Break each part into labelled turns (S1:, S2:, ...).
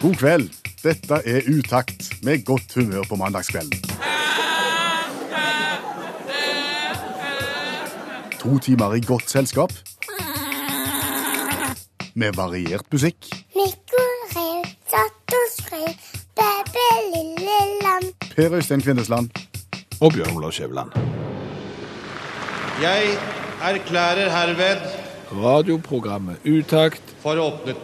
S1: God kveld. Dette er Utakt, med godt humør på mandagskvelden. To timer i godt selskap. Med variert musikk,
S2: Mikko rev, satt og skrev, bæbæ lille lam.
S1: Per Øystein Kvindesland
S3: Og Bjørn Olav Skjæveland.
S4: Jeg erklærer herved
S3: Radioprogrammet Utakt
S4: for åpnet.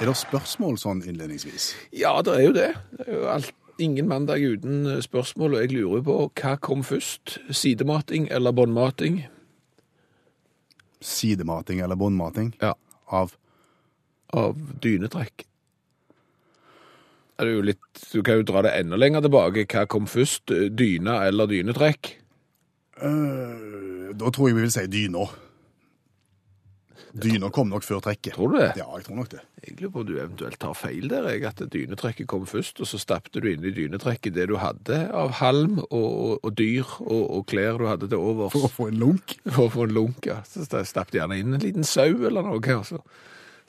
S1: Er det spørsmål sånn innledningsvis?
S3: Ja, det er jo det. det er jo alt, ingen mandag uten eh, spørsmål, og jeg lurer på hva kom først? Sidemating eller båndmating?
S1: Sidemating eller båndmating
S3: Ja.
S1: av
S3: Av dynetrekk. Ja, Det er jo litt, du kan jo dra det enda lenger tilbake. Hva kom først? eh, Dyna eller dynetrekk?
S1: øh, Da tror jeg vi vil si dyna. Dyna kom nok før trekket.
S3: Tror du det?
S1: Ja, jeg tror nok det.
S3: Jeg lurer på om du eventuelt tar feil der, jeg, at dynetrekket kom først, og så stappte du inn i dynetrekket det du hadde av halm og, og, og dyr og, og klær du hadde til overs.
S1: For å få en lunk.
S3: for å få en lunk, ja. Så sta- stappte gjerne inn en liten sau eller noe, og så,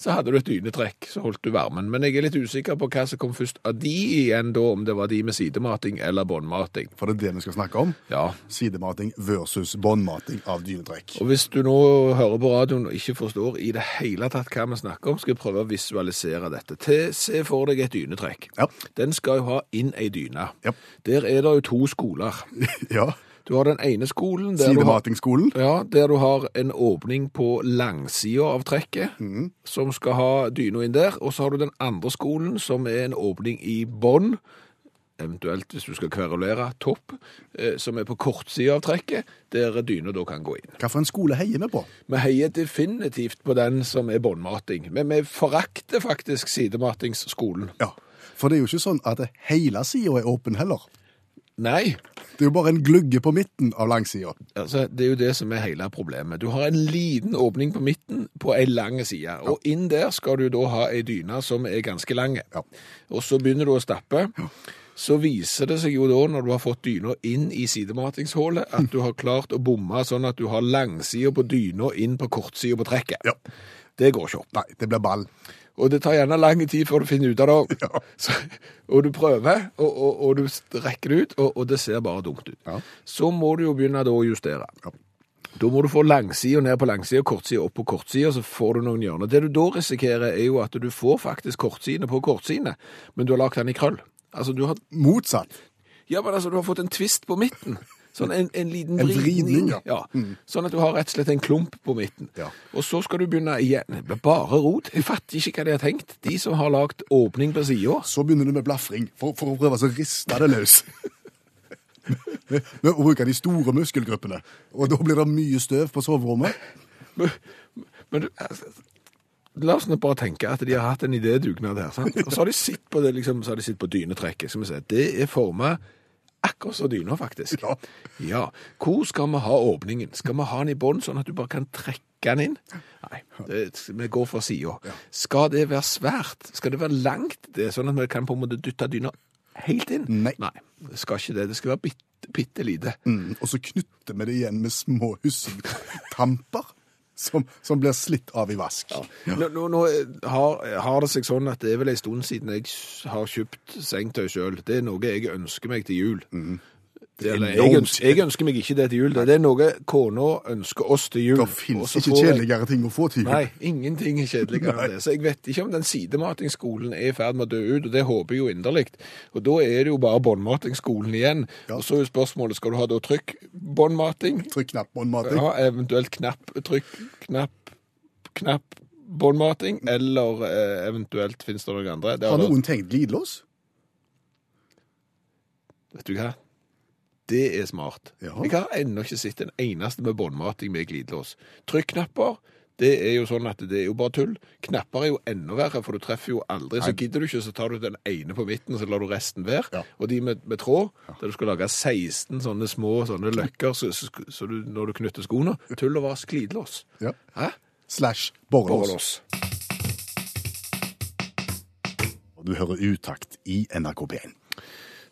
S3: så hadde du et dynetrekk, så holdt du varmen. Men jeg er litt usikker på hva som kom først av de igjen da, om det var de med sidemating eller båndmating.
S1: For det er det vi skal snakke om.
S3: Ja,
S1: Sidemating versus båndmating av dynetrekk.
S3: og hvis du nå hører på radioen og ikke forstår i det hele tatt hva vi snakker om, skal jeg prøve å visualisere dette. Til, se for deg et dynetrekk.
S1: Ja.
S3: Den skal jo ha inn ei dyne.
S1: Ja.
S3: Der er det jo to skoler.
S1: ja.
S3: Du har den ene skolen der du har
S1: Sidematingskolen.
S3: Ja, der du har en åpning på langsida av trekket, som skal ha dyna inn der. Og så har du den andre skolen, som er en åpning i bånn, eventuelt hvis du skal kverulere, topp, eh, som er på kortsida av trekket, der dyna da kan gå inn.
S1: Hva for en skole heier vi på?
S3: Vi heier definitivt på den som er båndmating, men vi forakter faktisk sidematingsskolen.
S1: Ja. For det er jo ikke sånn at hele sida er åpen heller.
S3: Nei,
S1: Det er jo bare en glugge på midten av langsida.
S3: Altså, det er jo det som er hele problemet. Du har en liten åpning på midten på ei lang side, og inn der skal du da ha ei dyne som er ganske lang.
S1: Ja.
S3: Og så begynner du å stappe. Så viser det seg jo da, når du har fått dyna inn i sidematingshullet, at du har klart å bomme sånn at du har langsida på dyna inn på kortsida på trekket.
S1: Ja.
S3: Det går ikke opp.
S1: Nei, det blir ball.
S3: Og det tar gjerne lang tid før du finner ut av det. Så, og du prøver, og, og, og du rekker det ut, og, og det ser bare dumt ut.
S1: Ja.
S3: Så må du jo begynne da å justere.
S1: Ja.
S3: Da må du få langsida ned på langsida, kortsida opp på kortsida, så får du noen hjørner. Det du da risikerer, er jo at du får faktisk kortsidene på kortsidene, men du har lagd den i krøll. Altså, du har,
S1: Motsatt.
S3: ja, men altså, du har fått en tvist på midten. Sånn en, en liten
S1: En
S3: vridning.
S1: vridning, ja.
S3: Sånn at du har rett og slett en klump på midten.
S1: Ja.
S3: Og så skal du begynne igjen. Det blir Bare rot. Jeg fatter ikke hva de har tenkt. De som har lagt åpning på sida.
S1: Så begynner du med blafring for, for å prøve å riste det løs. Med å bruke de store muskelgruppene. Og da blir det mye støv på soverommet.
S3: Men, men du, altså, la oss nå bare tenke at de har hatt en idédugnad her. Sant? Og så har de sett på det, liksom, så har de sett på dynetrekket. Skal vi se. Det er forma akkurat som dyna, faktisk.
S1: Ja.
S3: Ja. Hvor skal vi ha åpningen? Skal vi ha den i bånn, sånn at du bare kan trekke den inn? Nei, det, vi går for sida. Skal det være svært? Skal det være langt, det, sånn at vi kan på en måte dytte dyna helt inn?
S1: Nei.
S3: det skal ikke det. Det skal være bitte, bitte lite.
S1: Mm, Og så knytter vi det igjen med små hussingtamper som, som blir slitt av i vask.
S3: Nå, nå, nå eh, har, har det seg sånn at det er vel en stund siden jeg s- har kjøpt sengetøy sjøl. Det er noe jeg ønsker meg til jul. Det, eller, jeg,
S1: Mhm. enormt.
S3: ønsker, jeg ønsker meg ikke det til jul. Det er noe kona ønsker oss til jul.
S1: Det fins
S3: Og så
S1: ikke
S3: får jeg-
S1: kjedeligere ting å få til.
S3: Nei, ingenting er kjedeligere enn
S1: Nei.
S3: det. Så jeg vet ikke om den sidematingsskolen er i ferd med å dø ut, og det håper jeg jo inderlig. Og da er det jo bare båndmatingsskolen igjen.
S1: Ja.
S3: Og så er jo spørsmålet, skal du ha da trykk båndmating?
S1: Trykk knapp båndmating.
S3: Ja, eventuelt knapp, trykk, knapp, knapp, båndmating, eller eh, eventuelt finnes det noen andre. Det
S1: Har
S3: har
S1: noen tenkt glidelås?
S3: Vet du hva? Det er smart.
S1: Ja.
S3: Jeg har ennå ikke sett en eneste med båndmating med glidelås. Trykknapper, det er jo sånn at det er jo bare tull. Knapper er jo enda verre, for du treffer jo aldri. Så gidder du ikke, så tar du den ene på midten, så lar du resten være.
S1: Ja.
S3: Og de med, med tråd, der du skal lage 16 sånne små sånne løkker så, så, så du, når du knytter skoene. Tull og vask glidelås.
S1: Ja.
S3: Hæ?
S1: Slash borrelås.
S3: Borrelås.
S1: Du hører utakt i NRK P1.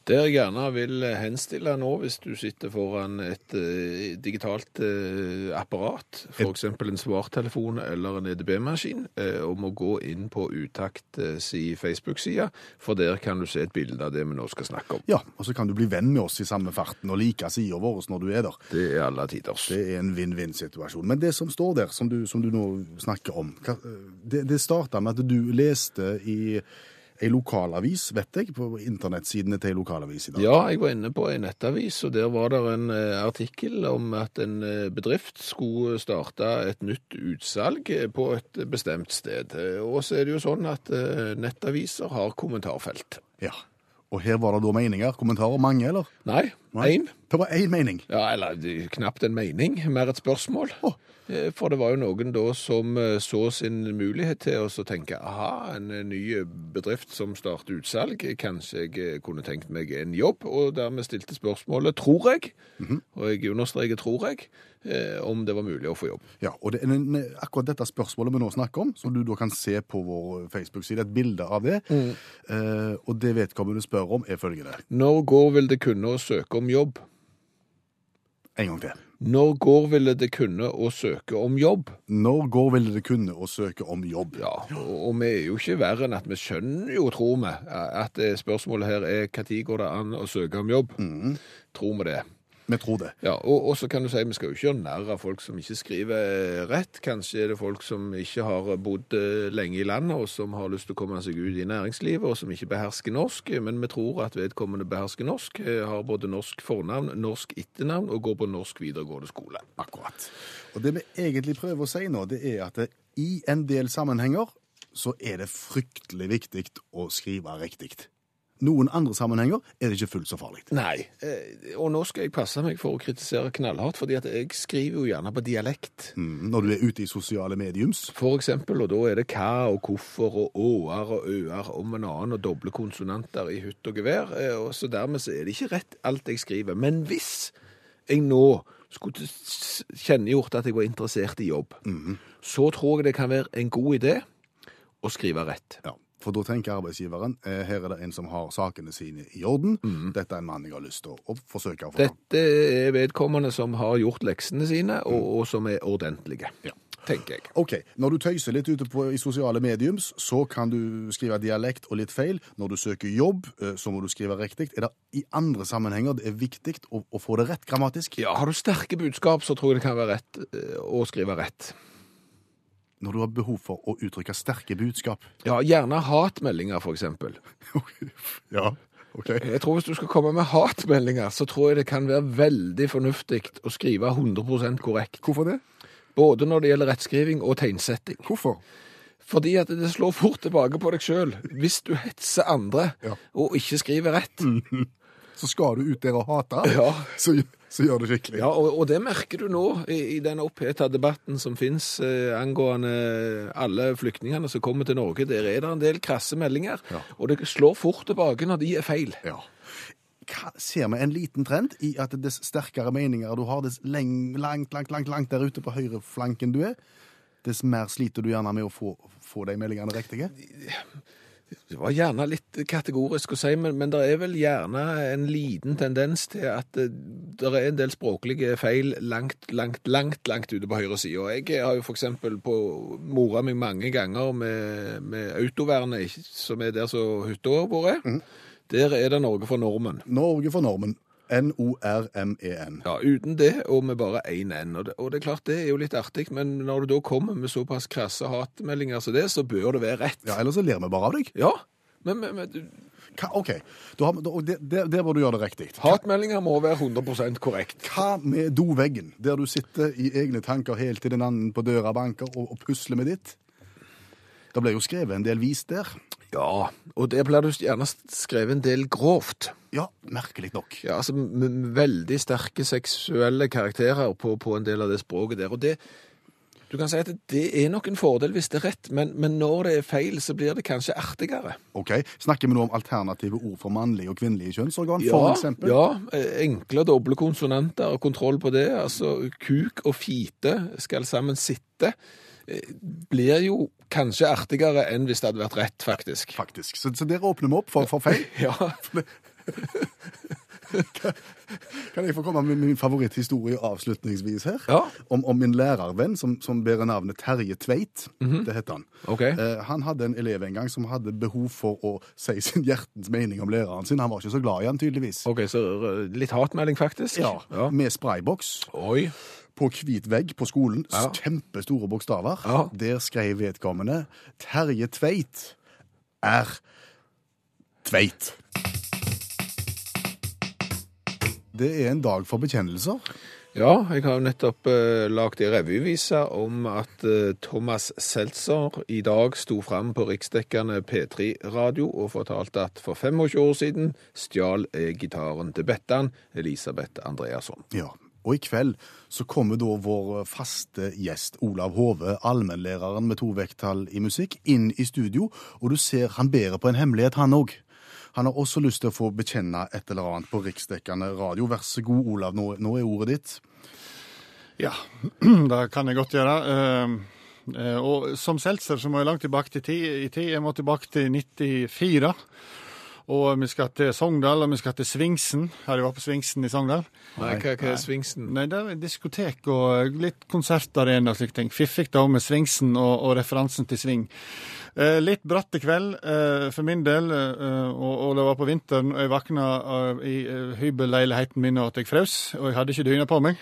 S3: Der jeg gjerne vil henstille nå, hvis du sitter foran et eh, digitalt eh, apparat, f.eks. en svartelefon eller en EDB-maskin, eh, om å gå inn på Utakt eh, si Facebook-side, for der kan du se et bilde av det vi nå skal snakke om.
S1: Ja, og så kan du bli venn med oss i samme farten og like sida vår når du er der.
S3: Det er alle tiders.
S1: Det er en vinn-vinn-situasjon. Men det som står der, som du, som du nå snakker om, hva, eh, det, det starta med at du leste i ei lokalavis, vet jeg, på internettsidene til ei lokalavis i dag.
S3: Ja, jeg var inne på en nettavis, og der var det en eh, artikkel om at en eh, bedrift skulle starte et nytt utsalg eh, på et bestemt sted. Eh, Og så er det jo sånn at eh, nettaviser har kommentarfelt.
S1: Ja. Og her var det da meninger, kommentarer, mange, eller?
S3: Nei,
S1: Nei.
S3: én.
S1: Det var én mening.
S3: Ja, eller det er knapt en mening, mer et spørsmål.
S1: Å.
S3: Eh, For det var jo noen da som eh, så sin mulighet til å så tenke aha, en eh, ny eh, bedrift som starter utsalg, eh, kanskje jeg eh, kunne tenkt meg en jobb, og dermed stilte spørsmålet tror jeg, og jeg understreker tror jeg, eh, om det var mulig å få jobb.
S1: Ja, og det, men akkurat dette spørsmålet vi nå snakker om, som du da kan se på vår Facebook-side, et bilde av det, eh, og det vedkommende spør om, er følgende.
S3: Når går vil det kunne å søke om jobb?
S1: En gang til.
S3: Når går ville det kunne å søke om jobb?
S1: Når går ville det kunne å søke om jobb?
S3: Ja, og og vi er jo ikke verre enn at vi skjønner jo, tror vi, at det spørsmålet her er når går det an å søke om jobb? Tror vi det.
S1: Vi tror det.
S3: Ja, og, og så kan du si vi skal jo ikke gjøre narr av folk som ikke skriver eh, rett. Kanskje er det folk som ikke har bodd eh, lenge i landet, og som har lyst til å komme seg ut i næringslivet, og som ikke behersker norsk. Men vi tror at vedkommende behersker norsk, eh, har både norsk fornavn, norsk etternavn og går på norsk videregående skole.
S1: Akkurat. Og det vi egentlig prøver å si nå, det er at det, i en del sammenhenger så er det fryktelig viktig å skrive riktig. Noen andre sammenhenger er det ikke fullt så farlig.
S3: Nei. Eh, Og nå skal jeg passe meg for å kritisere knallhardt, fordi at jeg skriver jo gjerne på dialekt.
S1: Mm, når du er ute i sosiale mediums.
S3: For eksempel, og da er det hva og hvorfor og åer og øer om en annen og doble konsonanter i hytt og gevær, eh, og så dermed så er det ikke rett alt jeg skriver. Men hvis jeg nå skulle s- kjennegjort at jeg var interessert i jobb, så tror jeg det kan være en god idé å skrive rett.
S1: Ja, for da tenker arbeidsgiveren eh, her er det en som har sakene sine i orden. Dette er en mann jeg har lyst til å, å forsøke å få tak
S3: Dette er vedkommende som har gjort leksene sine, og, og som er ordentlige, tenker jeg.
S1: Ok, Når du tøyser litt ute på, i sosiale mediums, så kan du skrive dialekt og litt feil. Når du søker jobb, eh, så må du skrive riktig. Er det i andre sammenhenger det er viktig å, å få det rett grammatisk?
S3: Ja, har du sterke budskap, så tror jeg det kan være rett eh, å skrive rett.
S1: Når du har behov for å uttrykke sterke budskap.
S3: Ja, gjerne hatmeldinger, for eksempel.
S1: Ja, ok.
S3: Jeg tror hvis du skal komme med hatmeldinger, så tror jeg det kan være veldig fornuftig å skrive 100 korrekt.
S1: Hvorfor det?
S3: Både når det gjelder rettskriving og tegnsetting.
S1: Hvorfor?
S3: Fordi at det slår fort tilbake på deg sjøl hvis du hetser andre
S1: Ja.
S3: og ikke skriver rett.
S1: Så skal du ut der og hate,
S3: Ja.
S1: så, så gjør det skikkelig.
S3: Ja, og, og det merker du nå i, i den oppheta debatten som finnes eh, angående alle flyktningene som kommer til Norge. Der er det en del krasse meldinger,
S1: Ja.
S3: og det slår fort tilbake når de er feil.
S1: Ja. Hva, ser vi en liten trend i at dess sterkere meninger du har, dess leng, langt, langt, langt, langt der ute på høyreflanken du er, dess mer sliter du gjerne med å få, få de meldingene riktige?
S3: Det var gjerne litt kategorisk å si, men, men det er vel gjerne en liten tendens til at eh, det er en del språklige feil langt, langt, langt langt ute på høyre sida. Jeg har jo f.eks. på mora mi mange ganger med, med autovernet, ikke- som er der som hytta vår er.
S1: Mm.
S3: Der er det Norge for nordmenn.
S1: Norge for normen. N-O-R-M-E-N.
S3: Ja, uten det, og med bare én N. Og det, og det er klart, det er jo litt artig, men når du da kommer med såpass krasse hatmeldinger som det, så bør det være rett.
S1: Ja, ellers så ler vi bare av deg.
S3: ja men, men, men
S1: Hva, ok, da har, vi- da, og det, det, det må du gjøre det riktig.
S3: Hatmeldinger må være 100 korrekt.
S1: Hva med doveggen, der du sitter i egne tanker helt til den andre på døra banker og, og pusler med ditt? Det ble jo skrevet en del vis der.
S3: Ja, og der blir du gjerne skrevet en del grovt.
S1: Ja, merkelig nok.
S3: Ja, altså m- m- Veldig sterke seksuelle karakterer på, på en del av det språket der. Og det Du kan si at det er nok en fordel hvis det er rett, men, men når det er feil, så blir det kanskje artigere.
S1: Ok, Snakker vi nå om alternative ord for mannlige og kvinnelige kjønnsorgan? for eksempel?
S3: ja, eh, enkle doble konsonanter og kontroll på det. Altså kuk og fite skal sammen sitte. eh, Blir jo kanskje artigere enn hvis det hadde vært rett, faktisk.
S1: Faktisk. Så, så dere åpner vi opp for, for feil.
S3: Ja,
S1: Kan jeg få komme med min favoritthistorie avslutningsvis her?
S3: Ja.
S1: Om, om min lærervenn som, som bærer navnet Terje Tveit. Det heter han.
S3: Mhm. Ok.
S1: Eh, han hadde en elev en gang som hadde behov for å si sin hjertens mening om læreren sin. Han var ikke så glad i han, tydeligvis.
S3: Ok, så eh, litt hatmelding faktisk.
S1: Ja, Med sprayboks
S3: Oi.
S1: på hvit vegg på skolen.
S3: Ja.
S1: Kjempestore bokstaver.
S3: Ja.
S1: Der skrev vedkommende Terje Tveit er Tveit. Det er en dag for bekjennelser.
S3: Ja, jeg har jo nettopp eh, lagt en revyvise om at eh, Thomas Seltzer i dag sto fram på riksdekkende P3-radio og fortalte at for 25 år siden stjal jeg gitaren til Bettan, Elisabeth Andreasson.
S1: Ja. Og i kveld så kommer da vår faste gjest Olav Hove, allmennlæreren med to vekttall i musikk, inn i studio, og du ser han bærer på en hemmelighet, han òg. Han har også lyst til å få bekjenne et eller annet på riksdekkende radio. Vær så god, Olav, nå, nå er ordet ditt.
S5: Ja, det kan jeg godt gjøre. Eh, eh, Og som seltzer så må jeg langt tilbake til tid. i tid. Jeg må tilbake til 94. Og vi skal til Sogndal, og vi skal til Svingsen. Her jeg var på Svingsen i Sogndal.
S3: Nei, hva, hva er svingsen?
S5: Nei, der er diskotek og eh, litt konsertarena og slike ting. Fiffig da med Svingsen og, og referansen til Sving. Eh, litt bratt i kveld eh, for min del, eh, og, og det var på vinteren, og jeg våkna eh, i eh, hybelleiligheten min og at jeg frøs, og jeg hadde ikke dyne på meg.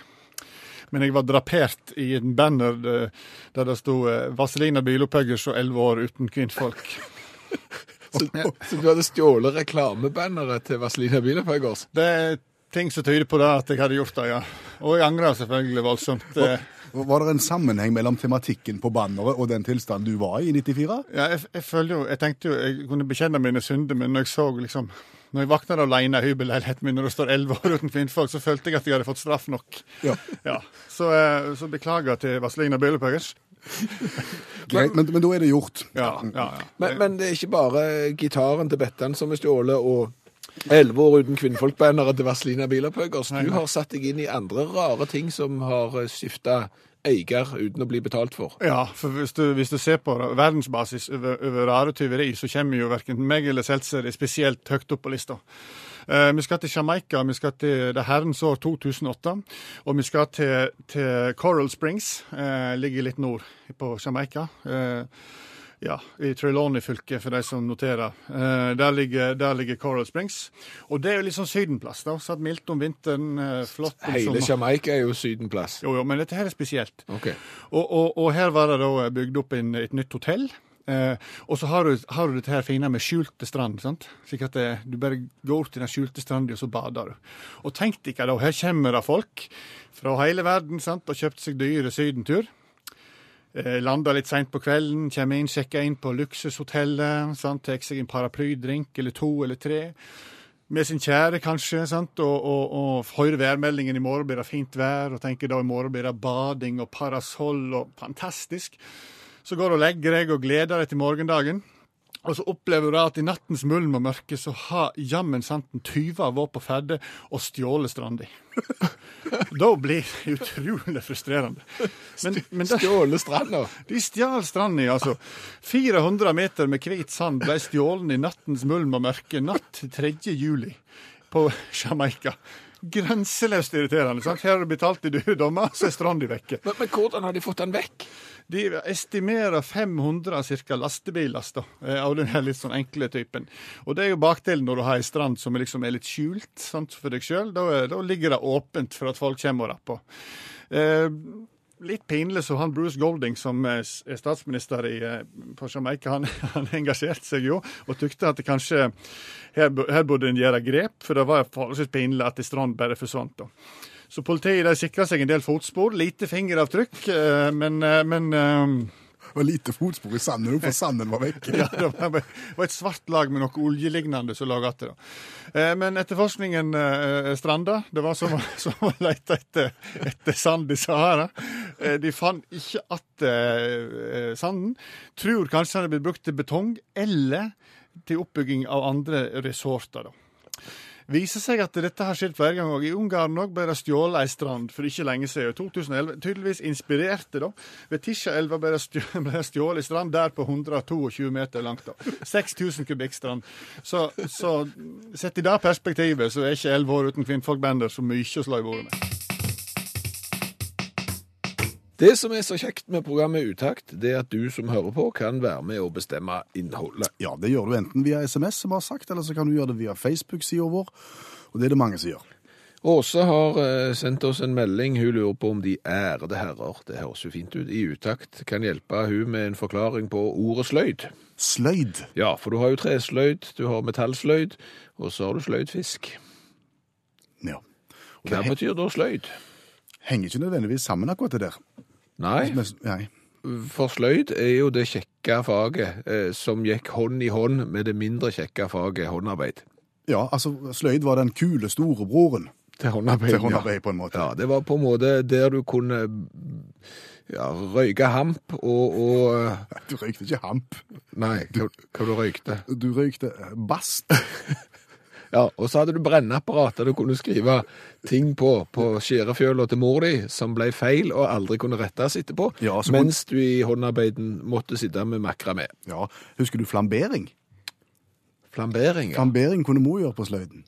S5: Men jeg var drapert i en banner eh, der det sto eh, 'Vaselina Bilopphøggers og elleve år uten kvinnfolk'.
S3: Så, så du hadde stjålet reklamebanneret til Vazelina Bielefeldgaards?
S5: Det er ting som tyder på det at jeg hadde gjort det, ja. Og jeg angrer selvfølgelig voldsomt. Eh,
S1: Var det en sammenheng mellom tematikken på banneret og den tilstanden du var i i 94?
S5: Ja, jeg, jeg føler jo, jeg tenkte jo jeg kunne bekjenne mine synder, men når jeg så liksom Når jeg våkna alene i hybelleiligheten min når det står elleve år uten kvinnfolk, så følte jeg at jeg hadde fått straff nok.
S1: Ja.
S5: Ja, Så, eh, så beklager til Vazelina Bøhlepøggers.
S1: Greit, men, men da er det gjort.
S5: Ja, ja, ja.
S3: Men, men det er ikke bare gitaren til Bettan som er stjålet, og 11 år uten kvinnfolkbanneret til Vazelina Bielefeldgaards. Du har satt deg inn i andre rare ting som har skifta eier uten å bli betalt for.
S5: Ja, for hvis du, hvis du ser på det, verdensbasis over, over rare tyveri, så kommer jo verken meg eller Seltzer spesielt høyt opp på lista. Eh, vi skal til Jamaica, vi skal til det herrens år 2008, og vi skal til, til Coral Springs, eh, ligger litt nord på Jamaica. Eh, ja, i Trelawney-fylket, for de som noterer. Eh, der, ligger, der ligger Coral Springs. Og det er jo litt sånn sydenplass, da. Satt mildt om vinteren, eh, flott om
S3: Hele
S5: sommeren.
S3: Jamaica er jo sydenplass.
S5: Jo, jo, men dette her er spesielt.
S3: Ok.
S5: Og, og, og her var det da bygd opp en, et nytt hotell. Eh, og så har du, har du dette her fine med skjulte strand. sant? Slik at det, du bare går til den skjulte stranda, og så bader du. Og tenk dere da, her kommer det folk fra hele verden sant? og kjøpt seg dyre sydentur. Eh, Landa litt seint på kvelden, kommer inn, sjekker inn på luksushotellet. sant? Tar seg en paraplydrink eller to eller tre. Med sin kjære, kanskje, sant? Og, og, og hører værmeldingen i morgen blir det fint vær, og tenker da i morgen blir det bading og parasoll og fantastisk. Så går du og legger deg og gleder deg til morgendagen. Og så opplever du da at i nattens mulm og mørke så har jammen santen tyver vært på ferde og stjålet stranda. da blir det utrolig frustrerende. Men, men det,
S3: Stjålet stranda.
S5: de stjal stranda, altså. 400 meter med hvit sand ble stjålet i nattens mulm og mørke natt til 3. juli på Jamaica. Grenseløst irriterende. sant? Her har du betalt i dyre dommer, så er stranda vekke.
S3: Men, men hvordan har de fått den vekk?
S5: De estimerer 500 cirka lastebillass da, eh, av den her litt sånn enkle typen. Og det er jo bakdelen når du har ei strand som liksom er litt skjult sant, for deg sjøl. Da, er- da ligger det åpent for at folk kommer og rapper. Eh, litt pinlig så han Bruce Golding, som eh, s- er statsminister i, eh, på Jamaica, han, han engasjerte seg jo og tykte at det kanskje her, bu- her burde en gjøre grep, for det var forholdsvis pinlig at ei strand bare forsvant. da. Så politiet de sikra seg en del fotspor. Lite fingeravtrykk, eh, men, eh, men eh,
S1: Det var lite fotspor i sanden, for sanden var vekk.
S5: ja, det var bare- det var et svart lag med noe oljelignende som lå igjen. Eh, Men etterforskningen eh, stranda. Det var som, å- som å lete etter, etter sand i Sahara. Eh, De fant ikke igjen sanden. Tror kanskje den er blitt brukt til betong eller til oppbygging av andre resorter. da. Viser seg at dette har skjedd flere ganger. og I Ungarn òg ble det stjålet ei strand for ikke lenge siden. 2011, tydeligvis inspirerte, da. Ved Tisjaelva ble det stjå- ble det stjålet ei strand der på 122 meter langt. da. 6000 kubikk strand. Så, så sett i det perspektivet så er ikke elleve år uten kvinnfolkbender så mye å slå i bordet med.
S3: Det som er så kjekt med programmet Utakt, det er at du som hører på, kan være med å bestemme innholdet.
S1: Ja, det gjør du enten via SMS, som vi har sagt, eller så kan du gjøre det via Facebook-sida vår. Og det er det mange som gjør.
S3: Åse har eh, sendt oss en melding. Hun lurer på om de ærede herrer, det høres jo fint ut, i utakt kan hjelpe hun med en forklaring på ordet sløyd.
S1: Sløyd.
S3: Ja, for du har jo tresløyd, du har metallsløyd, og så har du sløydfisk.
S1: Ja. Og
S3: Hva
S1: det he
S3: betyr da sløyd?
S1: henger ikke nødvendigvis sammen akkurat det der.
S3: Nei,
S1: Men, nei.
S3: for sløyd er jo det kjekke faget eh, som gikk hånd i hånd med det mindre kjekke faget håndarbeid.
S1: Ja, altså, sløyd var den kule storebroren
S3: Til håndarbeid,
S1: til håndarbeid, på en måte.
S3: Ja, det var på en måte der du kunne ja, røyke hamp og, og
S1: Du røykte ikke hamp.
S3: Nei, hva, hva du røykte.
S1: Du røykte eh, bass.
S3: Ja, og så hadde du brenneapparat der du kunne skrive ting på på skjærefjøla til mor di som ble feil og aldri kunne rettes etterpå,
S1: Ja, så kunne-
S3: mens du i håndarbeiden måtte sitte med makramé.
S1: Ja, husker du flambering?
S3: Flambering, ja.
S1: Flambering kunne mor gjøre på sløyden.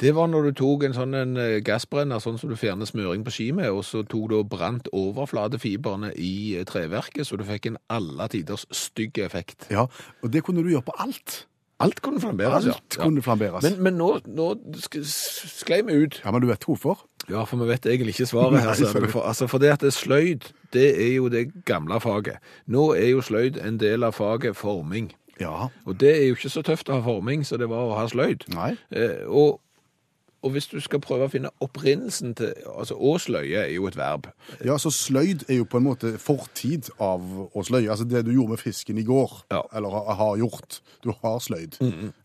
S3: Det var når du tok en sånn en eh, gassbrenner, sånn som du fjerner smøring på ski med, og så tok du og brant overflatefiberne i eh, treverket, så du fikk en alle tiders stygg effekt.
S1: Ja, og det kunne du gjøre på alt.
S3: Alt kunne flamberes,
S1: Alt
S3: ja. ja.
S1: kunne flamberes.
S3: Men, men nå, nå sk- sklei vi ut.
S1: Ja, men du vet hvorfor?
S3: Ja, for vi vet egentlig ikke svaret her.
S1: Nei,
S3: ser du.
S1: sorry.
S3: for, altså, for det at det er sløyd, det er jo det gamle faget. Nå er jo sløyd en del av faget forming.
S1: Ja.
S3: Og det er jo ikke så tøft å ha forming som det var å ha sløyd.
S1: Nei.
S3: Eh, og, og hvis du skal prøve å finne opprinnelsen til Altså, å sløye er jo et verb.
S1: Ja, så sløyd er jo på en måte fortid av å sløye. Altså det du gjorde med fisken i går,
S3: Ja.
S1: eller ha- har gjort. Du har sløyd.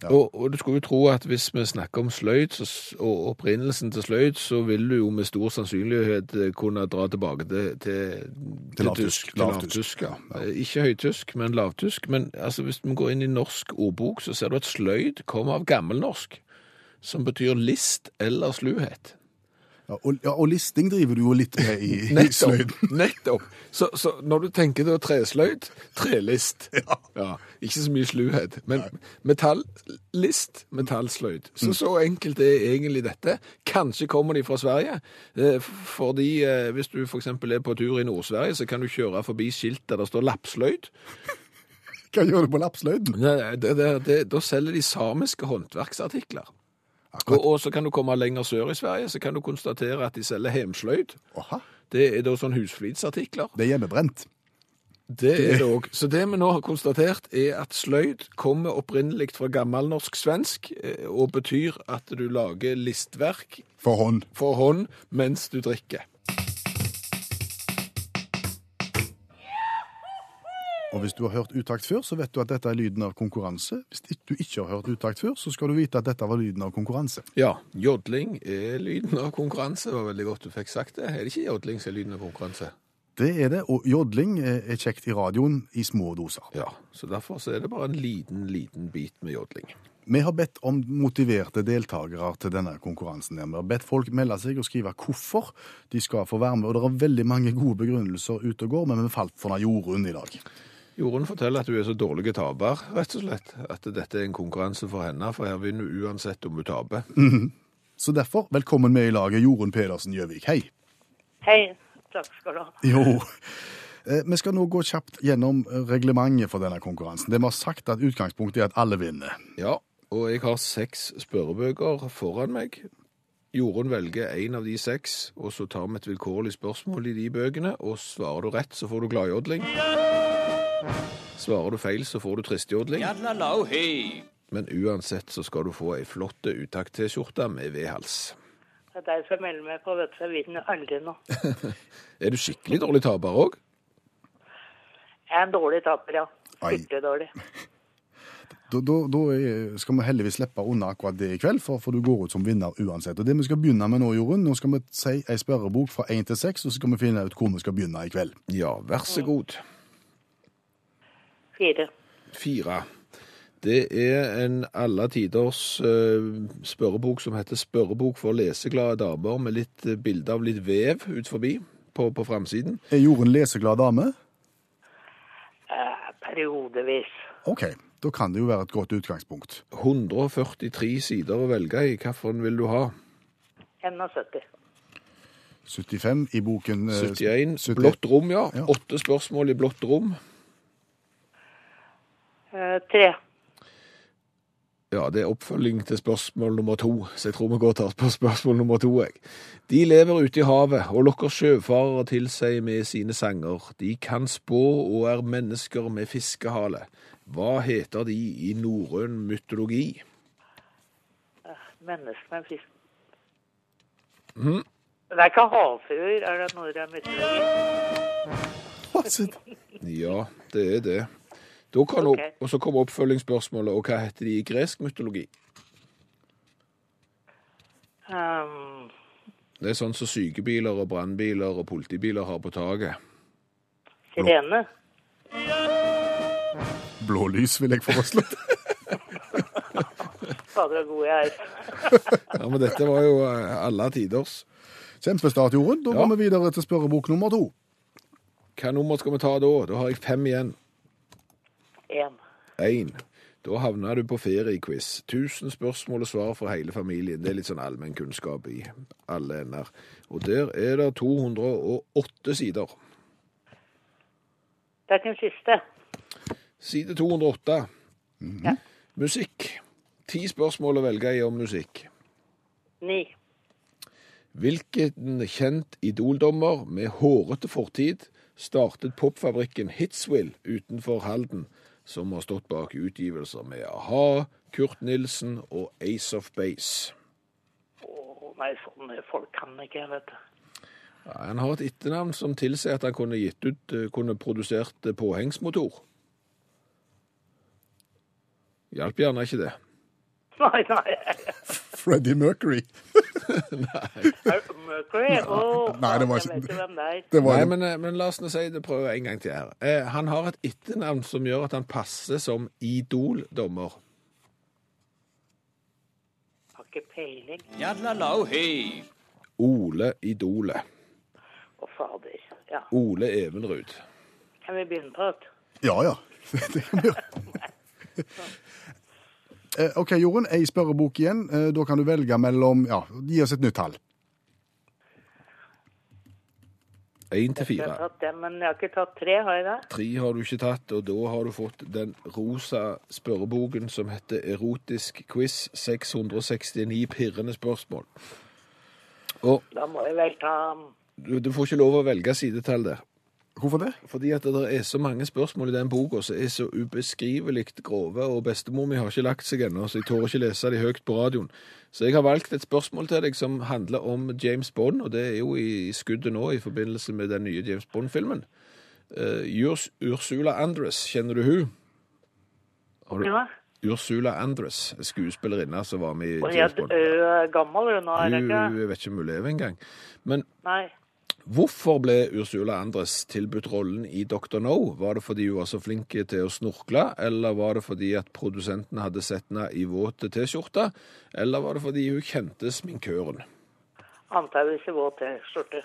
S1: Ja.
S3: Og, og du skulle jo tro at hvis vi snakker om sløyd, så, s- og opprinnelsen til sløyd, så vil du jo med stor sannsynlighet eh, kunne dra tilbake til, til,
S1: lavtysk,
S3: Til
S1: lavtysk.
S3: lavtysk ja. Eh, Ikke høytysk, men lavtysk. Men altså, hvis vi går inn i norsk ordbok, så ser du at sløyd kommer av gammelnorsk, som betyr list eller sluhet.
S1: Ja, og, ja, og listing driver du jo litt med i, i sløyden.
S3: Nettopp. nettopp. Så, så når du tenker da tresløyd, trelist. Ja. ikke så mye sluhet. Men metallist, metallsløyd. Så så enkelt er egentlig dette. Kanskje kommer de fra Sverige. eh, f- Fordi eh, hvis du f.eks. er på tur i Nord-Sverige, så kan du kjøre forbi skilt der det står lappsløyd.
S1: Hva gjør du på lappsløyden?
S3: Nei, nei, det, det, det, da selger de samiske håndverksartikler. Og, og så kan du komme lenger sør i Sverige, så kan du konstatere at de selger hemsløyd.
S1: Aha,
S3: Det er da sånn husflidsartikler.
S1: det er hjemmebrent.
S3: Det er det òg. Så det vi nå har konstatert, er at sløyd kommer opprinnelig fra gammelnorsk-svensk, eh, og betyr at du lager listverk
S1: For hånd.
S3: for hånd mens du drikker.
S1: Og hvis du har hørt utakt før, så vet du at dette er lyden av konkurranse. Hvis ikke- du ikke har hørt utakt før, så skal du vite at dette var lyden av konkurranse.
S3: Ja, jodling er lyden av konkurranse. Det var veldig godt du fikk sagt det. Er det ikke jodling som er lyden av konkurranse?
S1: Det er det, og jodling er er kjekt i radioen i små doser.
S3: Ja, så derfor så er det bare en liten, liten bit med jodling.
S1: Vi har bedt om motiverte deltakere til denne konkurransen. her. Vi har bedt folk melde seg og skrive hvorfor de skal få være med. Og det er veldig mange gode begrunnelser ute og går, men vi falt for den jorden i dag.
S3: Jorunn forteller at hun er så dårlig taper, rett og slett. At dette er en konkurranse for henne, for her vinner hun uansett om hun taper.
S1: Så derfor, velkommen med i laget, Jorunn Pedersen Gjøvik. Hei.
S6: Hei, takk skal du ha.
S1: Jo. Eh, Vi skal nå gå kjapt gjennom reglementet for denne konkurransen. Det vi har sagt at utgangspunktet er at alle vinner.
S3: Ja, og jeg har seks spørrebøker foran meg. Jorunn velger en av de seks, og så tar vi et vilkårlig spørsmål i de bøkene, og svarer du rett, så får du gladjodling. Svarer du feil, så får du tristjodling. Men uansett så skal du få ei flott utakt-T-skjorte med V-hals.
S6: Det er de som melder meg på, vet du, jeg vinner aldri nå.
S3: Er du skikkelig dårlig taper òg?
S6: Jeg er en dårlig taper, ja.
S1: Ai.
S6: Skikkelig dårlig.
S1: Da, da, da er- skal vi heldigvis slippe unna akkurat det i kveld, for, for du går ut som vinner uansett. Og det vi skal begynne med nå, Jorunn, nå skal vi si ei spørrebok fra 1 til 6, og så skal vi finne ut hvor vi skal begynne i kveld.
S3: Ja, vær så god.
S6: Fire.
S3: Fire. Det er en alle tiders eh, spørrebok som heter 'Spørrebok for leseglade damer', med litt eh, bilde av litt vev ut forbi på, på framsiden.
S1: Er Jorunn leseglad dame?
S6: Eh, periodevis.
S1: OK, da kan det jo være et godt utgangspunkt.
S3: 143 sider å velge i. Hvilken vil du ha?
S6: 71.
S1: 75 i boken eh,
S3: 71.
S1: 70.
S3: Blått rom, ja.
S1: Ja.
S3: Åtte spørsmål i blått rom.
S6: Eh, tre.
S3: Ja, det er oppfølging til spørsmål nummer to, så jeg tror vi går til på spørsmål nummer to. Jeg. De lever ute i havet og lokker sjøfarere til seg med sine sanger. De kan spå og er mennesker med fiskehale. Hva heter de i norrøn mytologi?
S6: Mennesker med fisk.
S1: Mhm.
S6: Det er ikke havfruer, er det noe det er mytologi?
S3: Ja, det er det. Da kan
S6: Ok.
S3: opp, og så kommer oppfølgingsspørsmålet, og hva heter de i gresk mytologi?
S6: Um,
S3: Det er sånn som sykebiler og brannbiler og politibiler har på taket.
S6: sirene.
S1: Blå lys, vil jeg foreslå.
S6: Fader så god jeg er.
S3: Ja, men dette var jo eh, alle tiders.
S1: Kjempestart, Jorunn. Da
S3: Ja.
S1: går vi videre til spørrebok nummer to.
S3: Hva nummer skal vi ta da? Da har jeg fem igjen.
S6: En.
S3: 1. Da havner du på feriequiz. 1000 spørsmål og svar for hele familien. Det er litt sånn allmennkunnskap i alle ender. Og der er det 208 sider.
S6: Det er ikke den siste.
S3: Side 208. Musikk. Ti spørsmål å velge i om musikk.
S6: Ni.
S3: Hvilken kjent idoldommer med hårete fortid startet popfabrikken Hitswill utenfor Halden, som har stått bak utgivelser med a-ha, Kurt Nilsen og Ace of Base?
S6: Å nei, sånne folk kan ikke jeg, vet du.
S3: Ja, Han har et etternavn som tilsier at han kunne gitt ut, eh, kunne produsert eh, påhengsmotor. Hjalp gjerne ikke det.
S6: Nei, nei.
S1: Freddie Mercury.
S6: Er det Mercury? Å,
S1: Nei, det var ikke-
S6: Jeg vet jo hvem det er.
S1: Det var
S3: Nei,
S1: en-
S3: men, eh, men la oss nå si det prøve en gang til her. Eh, han har et etternavn som gjør at han passer som idoldommer.
S6: Jeg har ikke peiling.
S3: Ole Idole.
S6: Å, fader. Ja.
S3: Ole Evenrud.
S6: Kan vi begynne på det?
S1: Ja, ja. Det kan vi gjøre. Eh, OK, Jorunn. Ei spørrebok igjen. Eh, Da kan du velge mellom Ja, gi oss et nytt tall.
S3: Én til
S6: Jeg har
S3: fire.
S6: tatt det, men jeg har ikke tatt tre, har jeg det?
S3: Tre har du ikke tatt, og da har du fått den rosa spørreboken som heter Erotisk quiz 669 pirrende spørsmål. Og
S6: Da må jeg vel ta
S3: du, du får ikke lov å velge sidetall der.
S1: Hvorfor det?
S3: Fordi at det er så mange spørsmål i den boka som er så ubeskrivelig grove, og bestemor mi har ikke lagt seg ennå, så jeg tør ikke lese de høyt på radioen. Så jeg har valgt et spørsmål til deg som handler om James Bond, og det er jo i skuddet nå i forbindelse med den nye James Bond-filmen. Eh, Urs Ursula Andress, kjenner du hun? Har du?
S6: ja.
S3: Ursula Andress, skuespillerinne som var med i
S6: Og
S3: James
S6: jeg
S3: Bond.
S6: er gammel du, nå, er jeg
S3: Hun
S6: eh, ikke?
S3: jeg vet ikke om hun lever engang. Men
S6: Nei.
S3: Hvorfor ble Ursula Andres tilbudt rollen i Dr. No? Var det fordi hun var så flink til å snorkle, eller var det fordi at produsenten hadde sett henne i våte T-skjorte, eller var det fordi hun kjente sminkøren?
S6: Antageligvis i våt T-skjorte.